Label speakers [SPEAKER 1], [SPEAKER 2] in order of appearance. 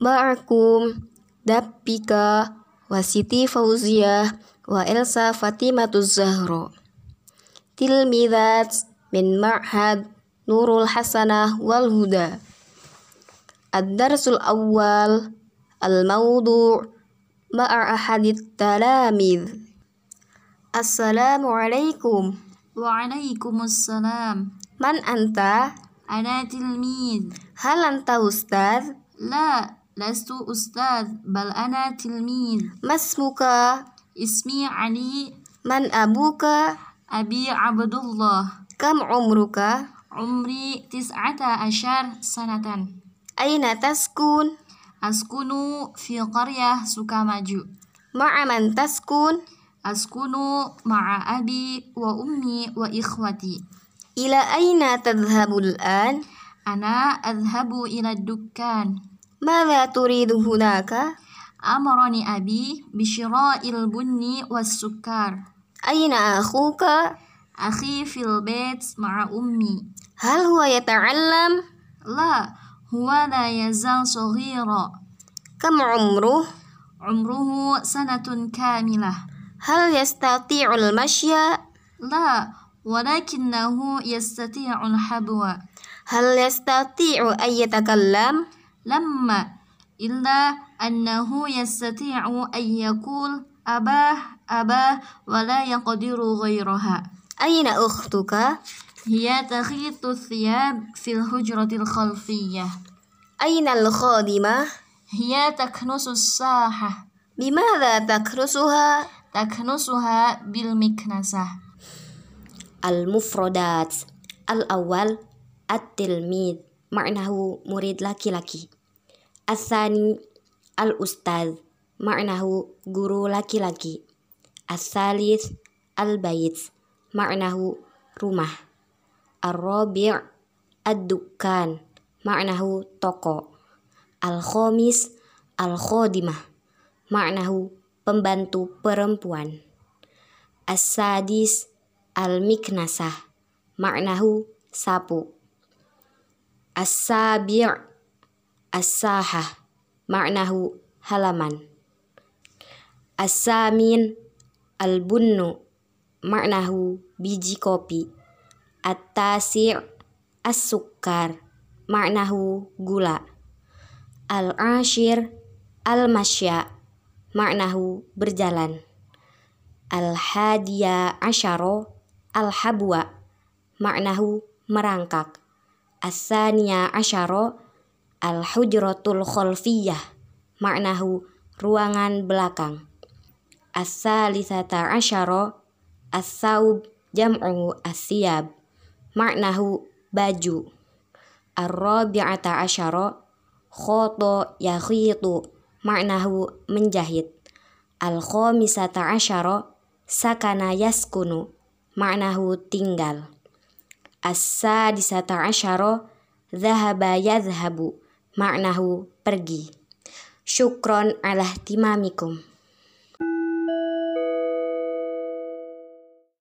[SPEAKER 1] معكم دبيكا وسيتي فوزية وإلسا فاطمة الزهراء تلميذات من معهد نور الحسنة والهدى الدرس الأول الموضوع مع أحد التلاميذ السلام عليكم
[SPEAKER 2] وعليكم السلام
[SPEAKER 1] من أنت؟
[SPEAKER 2] أنا تلميذ
[SPEAKER 1] هل أنت أستاذ؟
[SPEAKER 2] لا لست أستاذ بل أنا تلميذ
[SPEAKER 1] ما اسمك؟
[SPEAKER 2] اسمي علي
[SPEAKER 1] من أبوك؟
[SPEAKER 2] أبي عبد الله
[SPEAKER 1] كم عمرك؟
[SPEAKER 2] عمري تسعة عشر سنة
[SPEAKER 1] أين تسكن؟
[SPEAKER 2] أسكن في قرية سوكاماجو
[SPEAKER 1] مع من تسكن؟
[SPEAKER 2] أسكن مع أبي وأمي وإخوتي
[SPEAKER 1] إلى أين تذهب الآن؟
[SPEAKER 2] أنا أذهب إلى الدكان
[SPEAKER 1] ماذا تريد هناك؟
[SPEAKER 2] أمرني أبي بشراء البن والسكر
[SPEAKER 1] أين أخوك؟
[SPEAKER 2] أخي في البيت مع أمي
[SPEAKER 1] هل هو يتعلم؟
[SPEAKER 2] لا هو لا يزال صغيرا
[SPEAKER 1] كم عمره؟
[SPEAKER 2] عمره سنة كاملة
[SPEAKER 1] هل يستطيع المشي؟
[SPEAKER 2] لا ولكنه يستطيع الحبو
[SPEAKER 1] هل يستطيع أن يتكلم؟
[SPEAKER 2] لما إلا أنه يستطيع أن يقول أباه أباه ولا يقدر غيرها
[SPEAKER 1] أين أختك؟
[SPEAKER 2] هي تخيط الثياب في الحجرة الخلفية
[SPEAKER 1] أين الخادمة؟
[SPEAKER 2] هي تكنس الساحة
[SPEAKER 1] بماذا تكرسها؟
[SPEAKER 2] تكنسها بالمكنسة
[SPEAKER 3] المفردات الأول التلميذ معناه مريد لaki-laki الثاني الأستاذ معناه guru laki-laki الثالث البيت معناه rumah الرابع الدكان معناه toko الخامس الخادمة معناه pembantu perempuan السادس المكنسة معناه sapu As-sabi' as-saha ma'nahu halaman. As-samin al-bunnu ma'nahu biji kopi. At-tasi' as-sukkar ma'nahu gula. Al-ashir al-masya ma'nahu berjalan. Al-hadiya asyaro al-habwa ma'nahu merangkak. Asania asyaro al-hujratul kholfiyah maknahu ruangan belakang. Asalisata asyaro as-saub jam'u asyab maknahu baju. Ar-rabi'ata asyaro khoto yakhitu maknahu menjahit. Al-khamisata asyaro sakana yaskunu maknahu tinggal. As-sadisata asyara Zahaba yadhabu Maknahu pergi Syukron ala timamikum